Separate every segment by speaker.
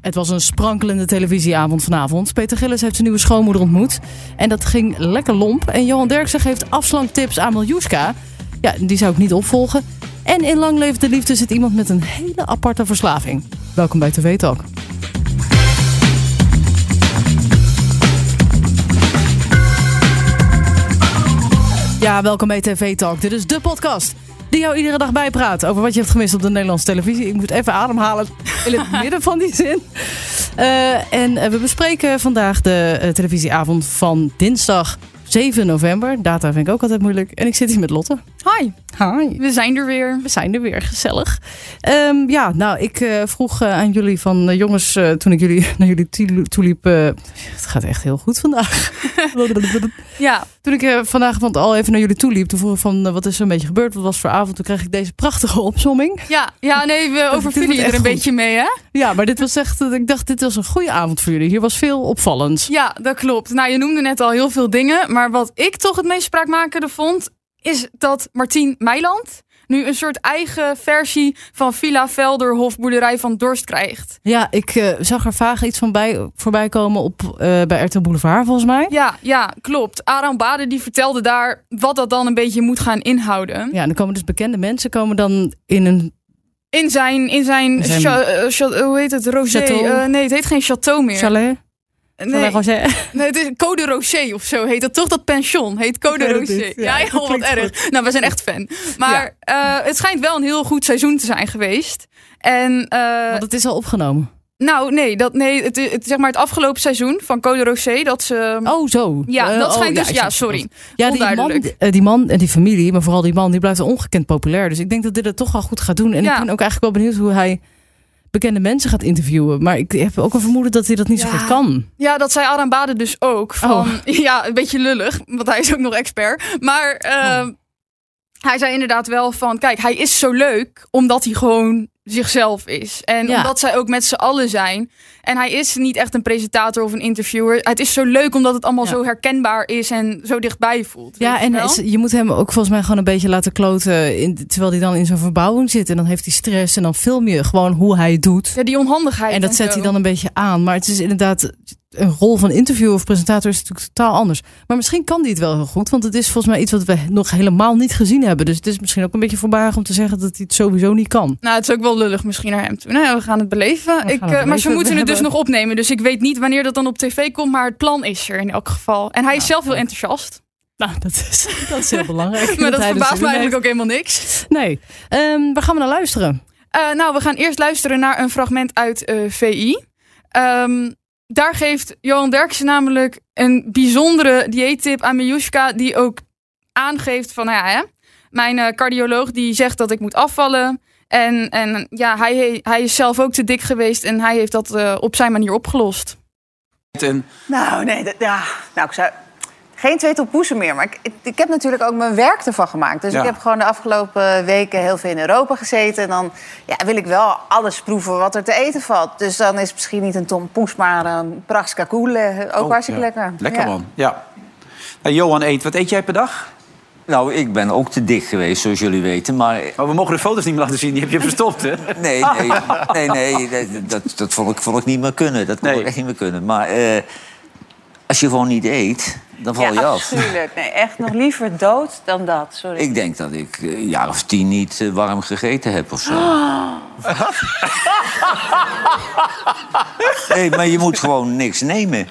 Speaker 1: Het was een sprankelende televisieavond vanavond. Peter Gillis heeft zijn nieuwe schoonmoeder ontmoet. En dat ging lekker lomp. En Johan Derksen geeft afslanktips aan Miljuska. Ja, die zou ik niet opvolgen. En in Lang Leef de Liefde zit iemand met een hele aparte verslaving. Welkom bij TV Talk. Ja, welkom bij TV Talk. Dit is de podcast die jou iedere dag bijpraat over wat je hebt gemist op de Nederlandse televisie. Ik moet even ademhalen in het midden van die zin. Eh, en eh, we bespreken vandaag de eh, televisieavond van dinsdag 7 november. Data vind ik ook altijd moeilijk. En ik zit hier met Lotte.
Speaker 2: Hi,
Speaker 1: Hi.
Speaker 2: we zijn er weer.
Speaker 1: We zijn er weer, gezellig. Ehm, ja, nou, ik eh, vroeg eh, aan jullie van eh, jongens, eh, toen ik jullie naar jullie toe- toeliep. eh, het gaat echt heel goed vandaag.
Speaker 2: Ja,
Speaker 1: Toen ik eh, vanavond al even naar jullie toe liep, toen vroeg ik van eh, wat is er een beetje gebeurd, wat was het voor avond, toen kreeg ik deze prachtige opzomming.
Speaker 2: ja, ja nee, we overvielen
Speaker 1: wordt
Speaker 2: je
Speaker 1: echt
Speaker 2: er een
Speaker 1: goed.
Speaker 2: beetje mee, hè?
Speaker 1: Ja, maar dit was echt, eh, ik dacht dit was een goede avond voor jullie. Hier was veel opvallends.
Speaker 2: Ja, dat klopt. Nou, je noemde net al heel veel dingen, maar wat ik toch het meest spraakmakende vond, is dat Martien Meiland nu een soort eigen versie van Villa Velderhof boerderij van Dorst krijgt.
Speaker 1: Ja, ik eh, zag er vaag iets van bij, voorbij komen op, eh, bij RTL Boulevard volgens mij.
Speaker 2: Ja, ja, klopt. Aram Baden die vertelde daar wat dat dan een beetje moet gaan inhouden.
Speaker 1: Ja, en dan komen dus bekende mensen komen dan in een...
Speaker 2: In zijn, in zijn,
Speaker 1: Zijn-
Speaker 2: cha- eh, cha- eh, hoe heet het, rosé?
Speaker 1: Château.
Speaker 2: Eh, nee, het heet geen château meer.
Speaker 1: Chalet?
Speaker 2: nee.
Speaker 1: Chalet Rosé?
Speaker 2: Nee, het is Code Rosé of zo heet dat toch? Dat pension heet Code
Speaker 1: Ik weet het
Speaker 2: Rosé.
Speaker 1: niet. Ja,
Speaker 2: Ja, joh, wat
Speaker 1: klinkt
Speaker 2: erg. Nou, we zijn echt fan. Maar eh, het schijnt wel een heel goed seizoen te zijn geweest. En eh,
Speaker 1: Want het is al opgenomen.
Speaker 2: nou, nee, dat, nee het, het, zeg maar het afgelopen seizoen van Code Rosé, dat ze... ehm,
Speaker 1: Oh, zo.
Speaker 2: ja,
Speaker 1: Eh,
Speaker 2: dat
Speaker 1: oh,
Speaker 2: schijnt dus...
Speaker 1: ik
Speaker 2: Ja,
Speaker 1: snap het.
Speaker 2: sorry.
Speaker 1: Ja, die man,
Speaker 2: Onduidelijk.
Speaker 1: eh, die man en die familie, maar vooral die man, die blijft ongekend populair. Dus ik denk dat dit het toch wel goed gaat doen. En
Speaker 2: Ja.
Speaker 1: ik ben ook eigenlijk wel benieuwd hoe hij bekende mensen gaat interviewen. Maar ik heb ook een vermoeden dat hij dat niet zo
Speaker 2: Ja.
Speaker 1: goed kan.
Speaker 2: Ja, dat zei Adam Baden dus ook. Van,
Speaker 1: Oh.
Speaker 2: Ja, een beetje lullig, want hij is ook nog expert. Maar eh,
Speaker 1: Oh.
Speaker 2: hij zei inderdaad wel van... Kijk, hij is zo leuk omdat hij gewoon zichzelf is. En
Speaker 1: Ja.
Speaker 2: omdat zij ook met z'n allen zijn. En hij is niet echt een presentator of een interviewer. Het is zo leuk omdat het allemaal
Speaker 1: Ja.
Speaker 2: zo herkenbaar is en zo dichtbij voelt.
Speaker 1: Ja,
Speaker 2: weet je
Speaker 1: en
Speaker 2: wel?
Speaker 1: is- je moet hem ook volgens mij gewoon een beetje laten kloten. in- terwijl hij dan in zo'n verbouwing zit. En dan heeft hij stress. En dan film je gewoon hoe hij het doet.
Speaker 2: ja, die onhandigheid.
Speaker 1: En dat zet
Speaker 2: zo.
Speaker 1: hij dan een beetje aan. Maar het is inderdaad. Een rol van interviewer of presentator is natuurlijk totaal anders. Maar misschien kan die het wel heel goed. Want het is volgens mij iets wat we nog helemaal niet gezien hebben. Dus het is misschien ook een beetje voorbarig om te zeggen dat hij het sowieso niet kan.
Speaker 2: Nou, het is ook wel lullig misschien naar hem toe. Nou ja, we gaan het beleven.
Speaker 1: gaan het
Speaker 2: ik, eh, maar ze
Speaker 1: beleven.
Speaker 2: moeten
Speaker 1: We
Speaker 2: het dus
Speaker 1: hebben-
Speaker 2: nog opnemen. Dus ik weet niet wanneer dat dan op tv komt. Maar het plan is er in elk geval. En hij is
Speaker 1: Ja,
Speaker 2: zelf heel
Speaker 1: leuk.
Speaker 2: enthousiast.
Speaker 1: Nou, dat is, dat is heel belangrijk.
Speaker 2: Maar dat
Speaker 1: hij dus
Speaker 2: verbaast me
Speaker 1: zin in
Speaker 2: eigenlijk ook helemaal niks.
Speaker 1: heeft. Nee. Ehm, waar gaan we naar luisteren?
Speaker 2: Eh, nou, we gaan eerst luisteren naar een fragment uit eh, VI. Ehm, daar geeft Johan Derksen namelijk een bijzondere dieettip aan Miljushka... die ook aangeeft van, nou ja, hè, mijn eh, cardioloog die zegt dat ik moet afvallen... En, en ja, hij, he- hij is zelf ook te dik geweest en hij heeft dat eh, op zijn manier opgelost.
Speaker 3: En
Speaker 4: Nou, nee, dat- ja. Nou, ik zou... Geen twee poezen meer. Maar ik, ik, ik heb natuurlijk ook mijn werk ervan gemaakt. Dus
Speaker 3: Ja.
Speaker 4: ik heb gewoon de afgelopen weken heel veel in Europa gezeten. En dan ja, wil ik wel alles proeven wat er te eten valt. Dus dan is misschien niet een tompoes, maar een praxka koele. eh, Ook
Speaker 3: Oh,
Speaker 4: hartstikke
Speaker 3: ja.
Speaker 4: lekker.
Speaker 3: Lekker
Speaker 4: Ja.
Speaker 3: man, ja. Nou, Johan eet, wat eet jij per dag?
Speaker 5: Nou, ik ben ook te dicht geweest, zoals jullie weten. Maar
Speaker 3: Oh, we mogen de foto's niet meer laten zien, die heb je verstopt, hè?
Speaker 5: nee, nee, nee, nee dat- dat, dat vond, ik, vond ik niet meer kunnen. Dat kon
Speaker 3: Nee.
Speaker 5: ik echt niet meer kunnen. Maar eh, als je gewoon niet eet, dan val je
Speaker 4: Ja,
Speaker 5: af.
Speaker 4: natuurlijk. Nee, echt nog liever dood dan dat. Sorry.
Speaker 5: Ik denk dat ik eh, een jaar of tien niet eh, warm gegeten heb of zo.
Speaker 4: Oh.
Speaker 5: Nee, maar je moet gewoon niks nemen.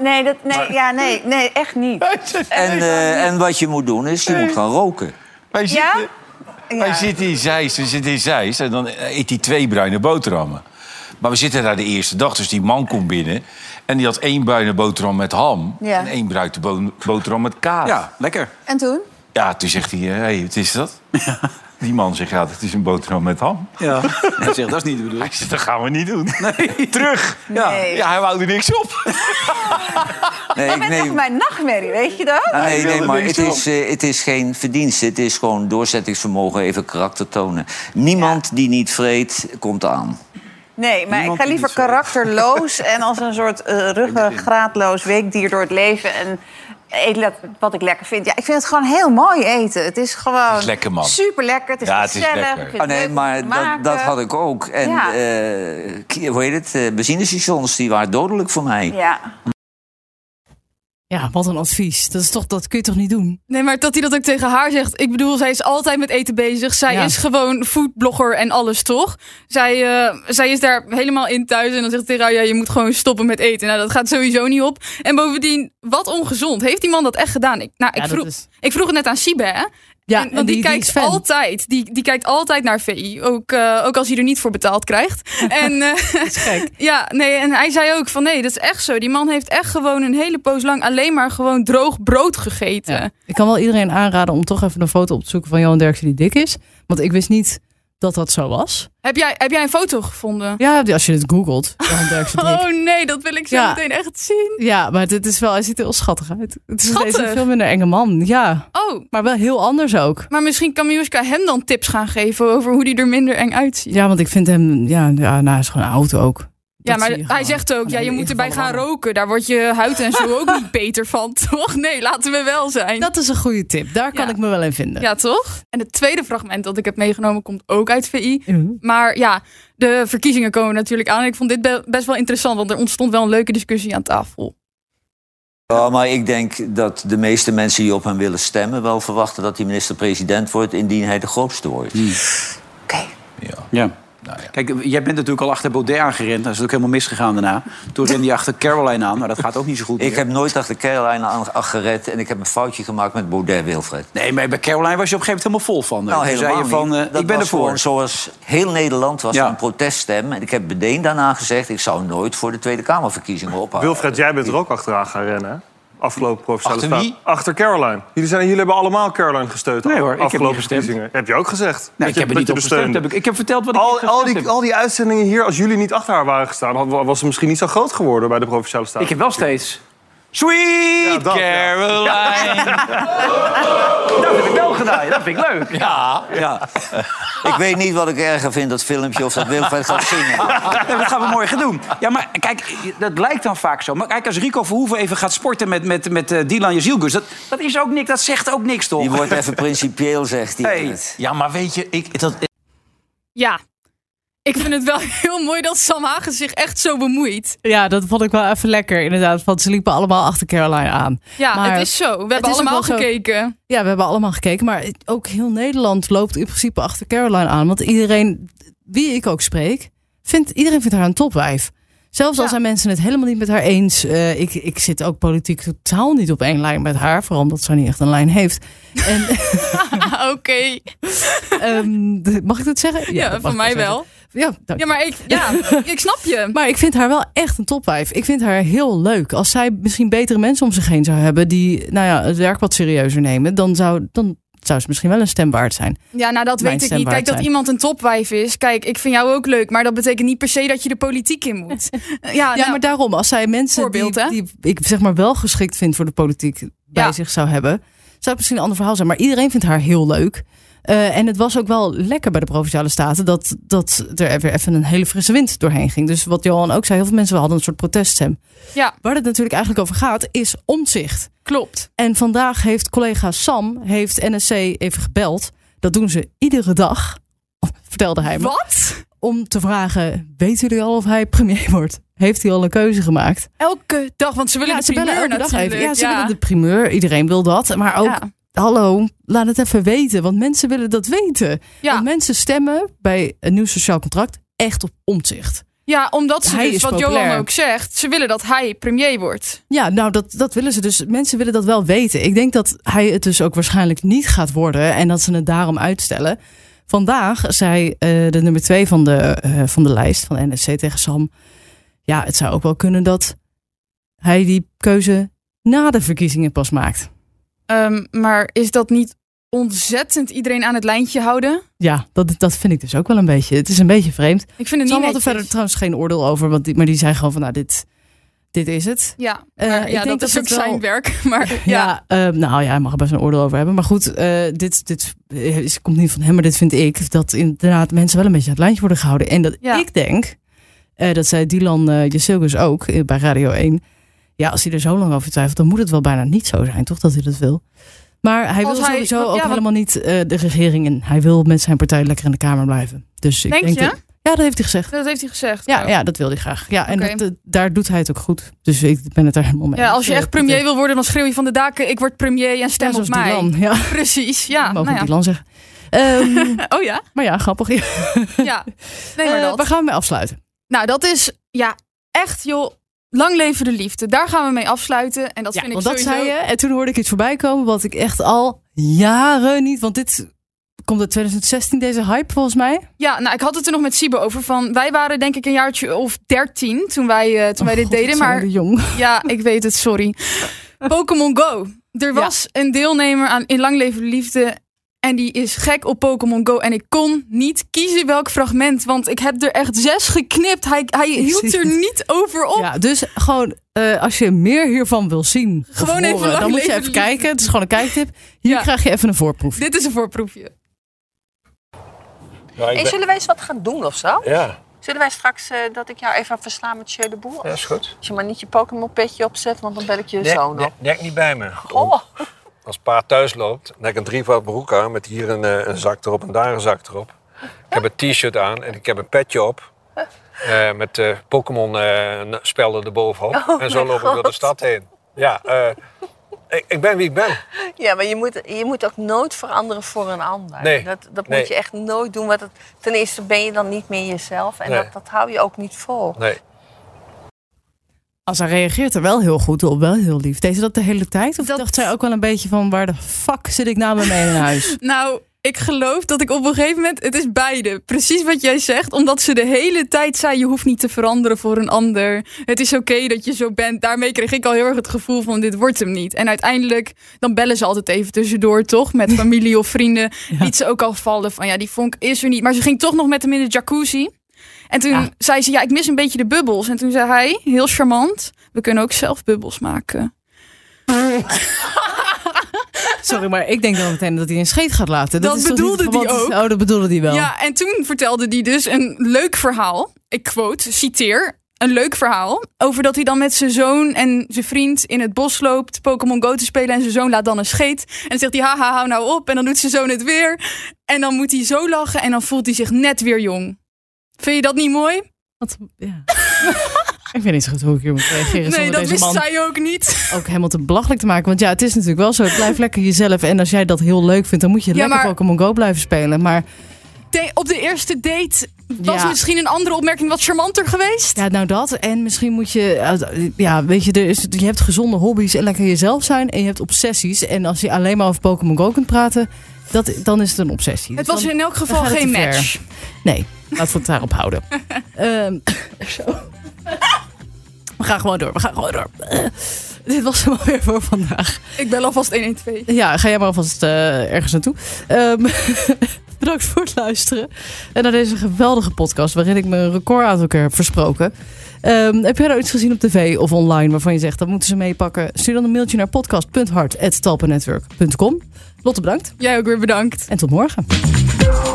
Speaker 4: Nee, dat, nee, ja, nee, nee, echt niet.
Speaker 5: En, eh, en wat je moet doen is, je moet gaan roken.
Speaker 6: Hij zit,
Speaker 4: Ja?
Speaker 6: hij
Speaker 4: Ja.
Speaker 6: zit in Zeist, hij zit in Zeist en dan eet hij twee bruine boterhammen. Maar we zitten daar de eerste dag, dus die man komt binnen... en die had één bruine boterham met ham
Speaker 4: Ja.
Speaker 6: en één bruine bo- boterham met kaas.
Speaker 3: Ja, lekker.
Speaker 4: En toen?
Speaker 6: Ja, toen zegt hij, hé, hey, wat is dat? Die man zegt, ja, het is een boterham met ham.
Speaker 3: Ja. Hij zegt, dat is niet de bedoeling.
Speaker 6: Hij zegt, dat gaan we niet doen. Terug. Ja.
Speaker 4: Nee.
Speaker 6: ja, hij wou er niks op.
Speaker 5: Nee, ik
Speaker 4: Dat is echt mijn nachtmerrie, weet je dat?
Speaker 5: Ah, nee, nee,
Speaker 3: wilde
Speaker 5: maar
Speaker 3: niks
Speaker 5: het is, eh, het is geen verdienste. Het is gewoon doorzettingsvermogen, even karakter tonen. Niemand die niet vreet, komt aan.
Speaker 4: Nee, maar
Speaker 3: Niemand
Speaker 4: ik ga
Speaker 3: die
Speaker 4: liever
Speaker 3: dit zo-
Speaker 4: karakterloos en als een soort eh, ruggengraatloos weekdier door het leven. En eet le- wat ik lekker vind. Ja, ik vind het gewoon heel mooi eten. Het is gewoon
Speaker 6: is lekker, man.
Speaker 4: super lekker. Het is
Speaker 6: Ja, het is
Speaker 4: gezellig.
Speaker 6: lekker.
Speaker 4: Ik vind
Speaker 7: Oh,
Speaker 5: Ah,
Speaker 4: het
Speaker 5: nee,
Speaker 4: leuk om te
Speaker 5: maar dat,
Speaker 4: maken.
Speaker 5: dat had ik ook. En
Speaker 4: Ja.
Speaker 5: eh, ki- hoe heet het? eh, benzinestations, die waren dodelijk voor mij.
Speaker 4: Ja.
Speaker 1: Ja, wat een advies. Dat, is toch, dat kun je toch niet doen?
Speaker 2: Nee, maar dat hij dat ook tegen haar zegt. Ik bedoel, zij is altijd met eten bezig. Zij
Speaker 1: Ja.
Speaker 2: is gewoon foodblogger en alles, toch? Zij, eh, zij is daar helemaal in thuis. En dan zegt hij tegen haar, ja, je moet gewoon stoppen met eten. Nou, dat gaat sowieso niet op. En bovendien, wat ongezond. Heeft die man dat echt gedaan? Ik, nou, ik,
Speaker 1: Ja, dat
Speaker 2: vroeg,
Speaker 1: is-
Speaker 2: ik vroeg het net aan Sibe, hè?
Speaker 1: Ja,
Speaker 2: En- want die, kijkt
Speaker 1: is fan.
Speaker 2: altijd. Die, die kijkt altijd naar VI. Ook, eh, ook als hij er niet voor betaald krijgt. en, eh,
Speaker 1: Dat is gek.
Speaker 2: ja, nee, en hij zei ook van nee, dat is echt zo. Die man heeft echt gewoon een hele poos lang alleen maar gewoon droog brood gegeten.
Speaker 1: Ja. Ik kan wel iedereen aanraden om toch even een foto op te zoeken van Johan Derksen die dik is. Want ik wist niet dat dat zo was.
Speaker 2: Heb, jij, heb jij een foto gevonden?
Speaker 1: Ja, als je het googelt, Johan Derksen dik.
Speaker 2: Oh nee, dat wil ik zo
Speaker 1: Ja.
Speaker 2: meteen echt zien.
Speaker 1: Ja, maar dit is wel, hij ziet er wel schattig uit. Het is
Speaker 2: Schattig?
Speaker 1: deze een veel minder enge man. Ja,
Speaker 2: Oh,
Speaker 1: maar wel heel anders ook.
Speaker 2: maar misschien kan Miuska hem dan tips gaan geven over hoe die er minder eng uitziet.
Speaker 1: Ja, want ik vind hem, ja, ja nou, hij is gewoon oud ook.
Speaker 2: Ja,
Speaker 1: Dat
Speaker 2: maar
Speaker 1: zie je
Speaker 2: hij
Speaker 1: gewoon.
Speaker 2: zegt ook,
Speaker 1: Gewoon
Speaker 2: ja, je
Speaker 1: hele
Speaker 2: moet erbij gaan
Speaker 1: ingevallen wangen.
Speaker 2: roken. Daar wordt je huid en zo ook niet beter van, toch? Nee, laten we wel zijn.
Speaker 1: Dat is een goede tip. Daar kan
Speaker 2: Ja.
Speaker 1: ik me wel in vinden.
Speaker 2: Ja, toch? En het tweede fragment dat ik heb meegenomen komt ook uit VI.
Speaker 1: Mhm.
Speaker 2: Maar ja, de verkiezingen komen natuurlijk aan. En ik vond dit be- best wel interessant, want er ontstond wel een leuke discussie aan tafel.
Speaker 5: Ja, maar ik denk dat de meeste mensen die op hem willen stemmen... wel verwachten dat hij minister-president wordt indien hij de grootste wordt.
Speaker 4: Oké.
Speaker 3: Ja. Kijk, jij bent natuurlijk al achter Baudet aangerend. Dat is ook helemaal misgegaan daarna. Toen rende je achter Caroline aan, maar dat gaat ook niet zo goed.
Speaker 5: Ik
Speaker 3: meer.
Speaker 5: heb nooit achter Caroline aan aan gered en ik heb een foutje gemaakt met Baudet, Wilfred.
Speaker 3: Nee, maar bij Caroline was je op een gegeven moment helemaal vol van.
Speaker 5: Nou,
Speaker 3: Toen
Speaker 5: helemaal
Speaker 3: zei je van,
Speaker 5: niet.
Speaker 3: eh,
Speaker 5: Dat
Speaker 3: ik ben
Speaker 5: was
Speaker 3: ervoor.
Speaker 5: gewoon zoals heel Nederland was
Speaker 3: Ja.
Speaker 5: een proteststem. En ik heb meteen daarna gezegd... ik zou nooit voor de Tweede Kamerverkiezingen ophouden.
Speaker 8: Wilfred,
Speaker 3: Ah,
Speaker 8: jij bent er ook achteraan gaan rennen. hè? Afgelopen provinciale
Speaker 6: Achter wie?
Speaker 8: staat- Achter Caroline. Jullie, zijn, jullie hebben allemaal Caroline gesteund.
Speaker 3: Nee hoor, ik heb
Speaker 8: afgelopen
Speaker 3: niet gestemd.
Speaker 8: verkiezingen. Heb je ook gezegd?
Speaker 3: Nee, Nou, ik heb er niet op gestemd. Heb
Speaker 8: steun.
Speaker 3: ik, ik heb verteld wat ik
Speaker 8: Al,
Speaker 3: gestemd
Speaker 8: al, die,
Speaker 3: heb.
Speaker 8: al die uitzendingen hier, als jullie niet achter haar waren gestaan, had- was ze misschien niet zo groot geworden bij de provinciale staat. Nou,
Speaker 3: Ik heb wel steeds... Sweet
Speaker 8: Ja, dat, ja.
Speaker 3: Caroline. dat heb ik wel gedaan. Dat vind ik leuk.
Speaker 6: Ja.
Speaker 3: Ja.
Speaker 5: Ik weet niet wat ik erger vind, dat filmpje of dat Wilfred gaat zingen.
Speaker 3: Nee, dat gaan we morgen doen. Ja, maar kijk, dat lijkt dan vaak zo. Maar kijk, als Rico Verhoeven even gaat sporten met, met, met eh, Dylan Jezielgus... Dat, dat is ook niks, dat zegt ook niks, toch?
Speaker 5: Die wordt even principieel, zegt hij.
Speaker 3: Hey.
Speaker 6: Ja, maar weet je, ik, dat,
Speaker 2: Ja, ik vind het wel heel mooi dat Sam Hagen zich echt zo bemoeit.
Speaker 1: Ja, dat vond ik wel even lekker inderdaad. Want ze liepen allemaal achter Caroline aan.
Speaker 2: Ja,
Speaker 1: Maar
Speaker 2: het is zo. We hebben
Speaker 1: is ook
Speaker 2: allemaal
Speaker 1: wel zo.
Speaker 2: gekeken.
Speaker 1: Ja, we hebben allemaal gekeken. Maar ook heel Nederland loopt in principe achter Caroline aan. Want iedereen, wie ik ook spreek, vindt, iedereen vindt haar een topwijf. Zelfs al
Speaker 2: Ja.
Speaker 1: zijn mensen het helemaal niet met haar eens. eh, ik, ik zit ook politiek totaal niet op één lijn met haar. Vooral omdat zij niet echt een lijn heeft. En,
Speaker 2: Ah, Oké,
Speaker 1: ehm, de- mag ik dat zeggen?
Speaker 2: ja,
Speaker 1: dat mag
Speaker 2: van
Speaker 1: ik
Speaker 2: mij
Speaker 1: zeggen.
Speaker 2: wel.
Speaker 1: Ja, dank
Speaker 2: Ja, maar ik, ja, ik snap je.
Speaker 1: Maar ik vind haar wel echt een topwijf. Ik vind haar heel leuk. Als zij misschien betere mensen om zich heen zou hebben... die nou ja, het werk wat serieuzer nemen... dan zou, dan zou ze misschien wel een stem waard zijn.
Speaker 2: Ja, nou dat
Speaker 1: Mijn
Speaker 2: weet ik
Speaker 1: stem
Speaker 2: niet. Kijk,
Speaker 1: waard
Speaker 2: dat
Speaker 1: zijn.
Speaker 2: iemand een topwijf is. Kijk, ik vind jou ook leuk, maar dat betekent niet per se dat je de politiek in moet. Ja,
Speaker 1: ja,
Speaker 2: nou,
Speaker 1: Ah, maar daarom. Als zij mensen die,
Speaker 2: Voorbeeld, hè?
Speaker 1: die ik zeg maar wel geschikt vind voor de politiek... bij
Speaker 2: Ja.
Speaker 1: zich zou hebben... zou het misschien een ander verhaal zijn. Maar iedereen vindt haar heel leuk. Eh, en het was ook wel lekker bij de Provinciale Staten... dat, dat er weer even een hele frisse wind doorheen ging. Dus wat Johan ook zei, heel veel mensen hadden een soort proteststem.
Speaker 2: Ja.
Speaker 1: Waar het natuurlijk eigenlijk over gaat, is omzicht.
Speaker 2: klopt.
Speaker 1: En vandaag heeft collega Sam heeft NSC even gebeld. Dat doen ze iedere dag, vertelde hij me.
Speaker 2: Wat?
Speaker 1: Om te vragen, weten jullie al of hij premier wordt? Heeft hij al een keuze gemaakt?
Speaker 2: Elke dag, want ze willen de primeur natuurlijk.
Speaker 1: Ja, ze willen de primeur. Iedereen wil dat. Maar ook,
Speaker 2: Ja.
Speaker 1: hallo, laat het even weten. Want mensen willen dat weten.
Speaker 2: Ja.
Speaker 1: Want mensen stemmen bij een nieuw sociaal contract echt op omzicht.
Speaker 2: Ja, omdat ze
Speaker 1: Hij
Speaker 2: dus,
Speaker 1: is
Speaker 2: wat Johan
Speaker 1: populair.
Speaker 2: ook zegt, ze willen dat hij premier wordt.
Speaker 1: Ja, nou, dat, dat willen ze dus. Mensen willen dat wel weten. Ik denk dat hij het dus ook waarschijnlijk niet gaat worden en dat ze het daarom uitstellen. Vandaag zei eh, de nummer twee van de, eh, van de lijst van NSC tegen Sam. Ja, het zou ook wel kunnen dat hij die keuze na de verkiezingen pas maakt.
Speaker 2: Ehm, maar is dat niet ontzettend iedereen aan het lijntje houden?
Speaker 1: Ja, dat, dat vind ik dus ook wel een beetje. Het is een beetje vreemd.
Speaker 2: Ik vind het
Speaker 1: Sam had er
Speaker 2: niet netjes.
Speaker 1: verder trouwens geen oordeel over, want die, maar die zei gewoon van nou, dit, dit is het.
Speaker 2: Ja,
Speaker 1: Eh,
Speaker 2: maar
Speaker 1: ik
Speaker 2: ja
Speaker 1: denk
Speaker 2: dat,
Speaker 1: dat
Speaker 2: is
Speaker 1: het
Speaker 2: ook
Speaker 1: wel-
Speaker 2: zijn werk. Maar ja,
Speaker 1: Ja, ehm, nou ja, hij mag er best een oordeel over hebben. Maar goed, eh, dit, dit is, komt niet van hem, maar dit vind ik. Dat inderdaad mensen wel een beetje aan het lijntje worden gehouden. En dat
Speaker 2: Ja.
Speaker 1: ik denk, eh, dat zei Dylan uh, ook eh, bij eh, Radio 1. Ja, als hij er zo lang over twijfelt, dan moet het wel bijna niet zo zijn, toch? Dat hij dat wil. Maar hij
Speaker 2: Als
Speaker 1: wil
Speaker 2: hij-
Speaker 1: sowieso
Speaker 2: want- ja,
Speaker 1: ook
Speaker 2: want-
Speaker 1: helemaal niet eh, de regering in. Hij wil met zijn partij lekker in de Kamer blijven. Dus ik
Speaker 2: Denk
Speaker 1: denk
Speaker 2: je?
Speaker 1: Dat, ja, dat heeft hij gezegd.
Speaker 2: Dat heeft hij gezegd.
Speaker 1: Ja, ja, dat wil hij graag. Ja, en
Speaker 2: Oké.
Speaker 1: dat, eh, daar doet hij het ook goed. Dus ik ben het daar helemaal mee.
Speaker 2: Ja,
Speaker 1: eens. eh,
Speaker 2: als je echt premier wil worden, dan schreeuw je van de daken: ik word premier en stem
Speaker 1: Ja,
Speaker 2: op
Speaker 1: zoals
Speaker 2: mij.
Speaker 1: Dylan. Ja,
Speaker 2: Precies, ja.
Speaker 1: mogen
Speaker 2: Nou
Speaker 1: we
Speaker 2: ja.
Speaker 1: Dylan zeggen. Ehm,
Speaker 2: Oh ja?
Speaker 1: maar ja, grappig.
Speaker 2: Ja. Nee, maar
Speaker 1: Eh,
Speaker 2: dat.
Speaker 1: Waar gaan we mee afsluiten?
Speaker 2: Nou, dat is ja, echt joh. Lang leven de liefde. Daar gaan we mee afsluiten. En dat
Speaker 1: ja,
Speaker 2: vind ik
Speaker 1: want dat
Speaker 2: sowieso...
Speaker 1: zei je. En toen hoorde ik iets voorbij komen wat ik echt al jaren niet... Want dit komt uit 2016, deze hype volgens mij.
Speaker 2: Ja, nou, ik had het er nog met Sibe over. Van, wij waren denk ik een jaartje of dertien toen wij, eh, toen wij dit
Speaker 1: Oh God, wat
Speaker 2: deden.
Speaker 1: zijn
Speaker 2: Maar
Speaker 1: we jong.
Speaker 2: ja, ik weet het, sorry. Pokémon Go. Er was een deelnemer aan In Lang Leven de Liefde. En die is gek op Pokémon Go. En ik kon niet kiezen welk fragment. Want ik heb er echt zes geknipt. Hij, hij hield
Speaker 1: zie
Speaker 2: er
Speaker 1: het.
Speaker 2: niet over op.
Speaker 1: Ja, dus gewoon eh, als je meer hiervan wil zien, of
Speaker 2: Gewoon even
Speaker 1: horen, dan
Speaker 2: lang
Speaker 1: moet je
Speaker 2: leven
Speaker 1: even
Speaker 2: de liefde.
Speaker 1: kijken. Het is gewoon een kijktip. Hier
Speaker 2: Ja.
Speaker 1: krijg je even een voorproefje.
Speaker 2: Dit is een voorproefje.
Speaker 9: Ja,
Speaker 7: Hey,
Speaker 9: ik ben-
Speaker 7: zullen wij eens wat gaan doen of zo?
Speaker 9: ja,
Speaker 7: Zullen wij straks eh, dat ik jou even ga verslaan met Jeu de Boer?
Speaker 9: ja, is goed.
Speaker 7: Als je maar niet je Pokémon petje opzet, want dan bel ik je
Speaker 9: Nek,
Speaker 7: zoon op.
Speaker 9: nek, nek niet bij me.
Speaker 7: Oh,
Speaker 9: Als pa thuis loopt, dan heb ik een drievoud broek aan met hier een, eh, een zak erop en daar een zak erop. Ik heb een t-shirt aan en ik heb een petje op. eh, met eh, Pokémon eh, n- spelden erbovenop.
Speaker 7: Oh,
Speaker 9: en zo
Speaker 7: mijn
Speaker 9: loop ik door de
Speaker 7: God.
Speaker 9: stad heen. Ja, eh, ik, ik ben wie ik ben.
Speaker 7: ja, maar je moet, je moet ook nooit veranderen voor een ander.
Speaker 9: Nee,
Speaker 7: Dat, dat
Speaker 9: nee.
Speaker 7: moet je echt nooit doen. Want dat, ten eerste ben je dan niet meer jezelf. En
Speaker 9: Nee.
Speaker 7: dat, dat hou je ook niet vol.
Speaker 9: Nee.
Speaker 1: Als hij reageert er wel heel goed op, wel heel lief. Deed ze dat de hele tijd? Of
Speaker 2: Dat-
Speaker 1: dacht zij ook wel een beetje van waar de fuck zit ik nou met mij in huis?
Speaker 2: Nou, ik geloof dat ik op een gegeven moment. Het is beide. Precies wat jij zegt. Omdat ze de hele tijd zei: je hoeft niet te veranderen voor een ander. Het is oké dat je zo bent. Daarmee kreeg ik al heel erg het gevoel van: dit wordt hem niet. En uiteindelijk, dan bellen ze altijd even tussendoor, toch? Met familie of vrienden. Liet ze ook al vallen van: ja, die vonk is er niet. Maar ze ging toch nog met hem in de jacuzzi. En toen
Speaker 1: Ja.
Speaker 2: zei ze: ja, ik mis een beetje de bubbels. En toen zei hij: heel charmant. We kunnen ook zelf bubbels maken.
Speaker 1: Sorry, maar ik denk dan meteen dat hij een scheet gaat laten.
Speaker 2: Dat
Speaker 1: is toch
Speaker 2: bedoelde
Speaker 1: niet gewoon-
Speaker 2: die ook.
Speaker 1: Oh, dat bedoelde hij wel.
Speaker 2: Ja, en toen vertelde hij dus een leuk verhaal. Ik quote, citeer. Een leuk verhaal over dat hij dan met zijn zoon en zijn vriend in het bos loopt Pokémon Go te spelen. En zijn zoon laat dan een scheet. En dan zegt hij, haha, hou nou op. En dan doet zijn zoon het weer. En dan moet hij zo lachen en dan voelt hij zich net weer jong. Vind je dat niet mooi?
Speaker 1: Wat- ja. ik weet niet zo goed hoe ik hier moet reageren.
Speaker 2: Nee,
Speaker 1: zonder
Speaker 2: dat
Speaker 1: deze
Speaker 2: wist
Speaker 1: man
Speaker 2: zij ook niet.
Speaker 1: ook helemaal te belachelijk te maken. Want ja, het is natuurlijk wel zo. Blijf lekker jezelf. En als jij dat heel leuk vindt, dan moet je
Speaker 2: Ja,
Speaker 1: lekker
Speaker 2: maar-
Speaker 1: Pokémon Go blijven spelen. Maar
Speaker 2: De- op de eerste date was
Speaker 1: Ja.
Speaker 2: misschien een andere opmerking wat charmanter geweest.
Speaker 1: ja, nou dat. En misschien moet je... eh, Ja, weet je, er is, je hebt gezonde hobby's en lekker jezelf zijn. En je hebt obsessies. En als je alleen maar over Pokémon Go kunt praten, dat, dan is het een obsessie.
Speaker 2: het
Speaker 1: Dus
Speaker 2: was
Speaker 1: dan-
Speaker 2: in elk geval
Speaker 1: gaat het
Speaker 2: geen
Speaker 1: te ver.
Speaker 2: match.
Speaker 1: Nee, laten we het daarop houden. Ehm, zo. We gaan gewoon door, we gaan gewoon door. Eh, dit was hem alweer voor vandaag.
Speaker 2: Ik bel alvast 112.
Speaker 1: Ja, ga jij maar alvast eh, ergens naartoe. Ehm, bedankt voor het luisteren. En naar deze geweldige podcast waarin ik mijn record aan elkaar heb versproken. Ehm, heb jij nou iets gezien op tv of online waarvan je zegt dat moeten ze meepakken? Stuur dan een mailtje naar podcast.hart.talpennetwerk.com. Lotte, bedankt
Speaker 2: Jij ook weer bedankt.
Speaker 1: en tot morgen.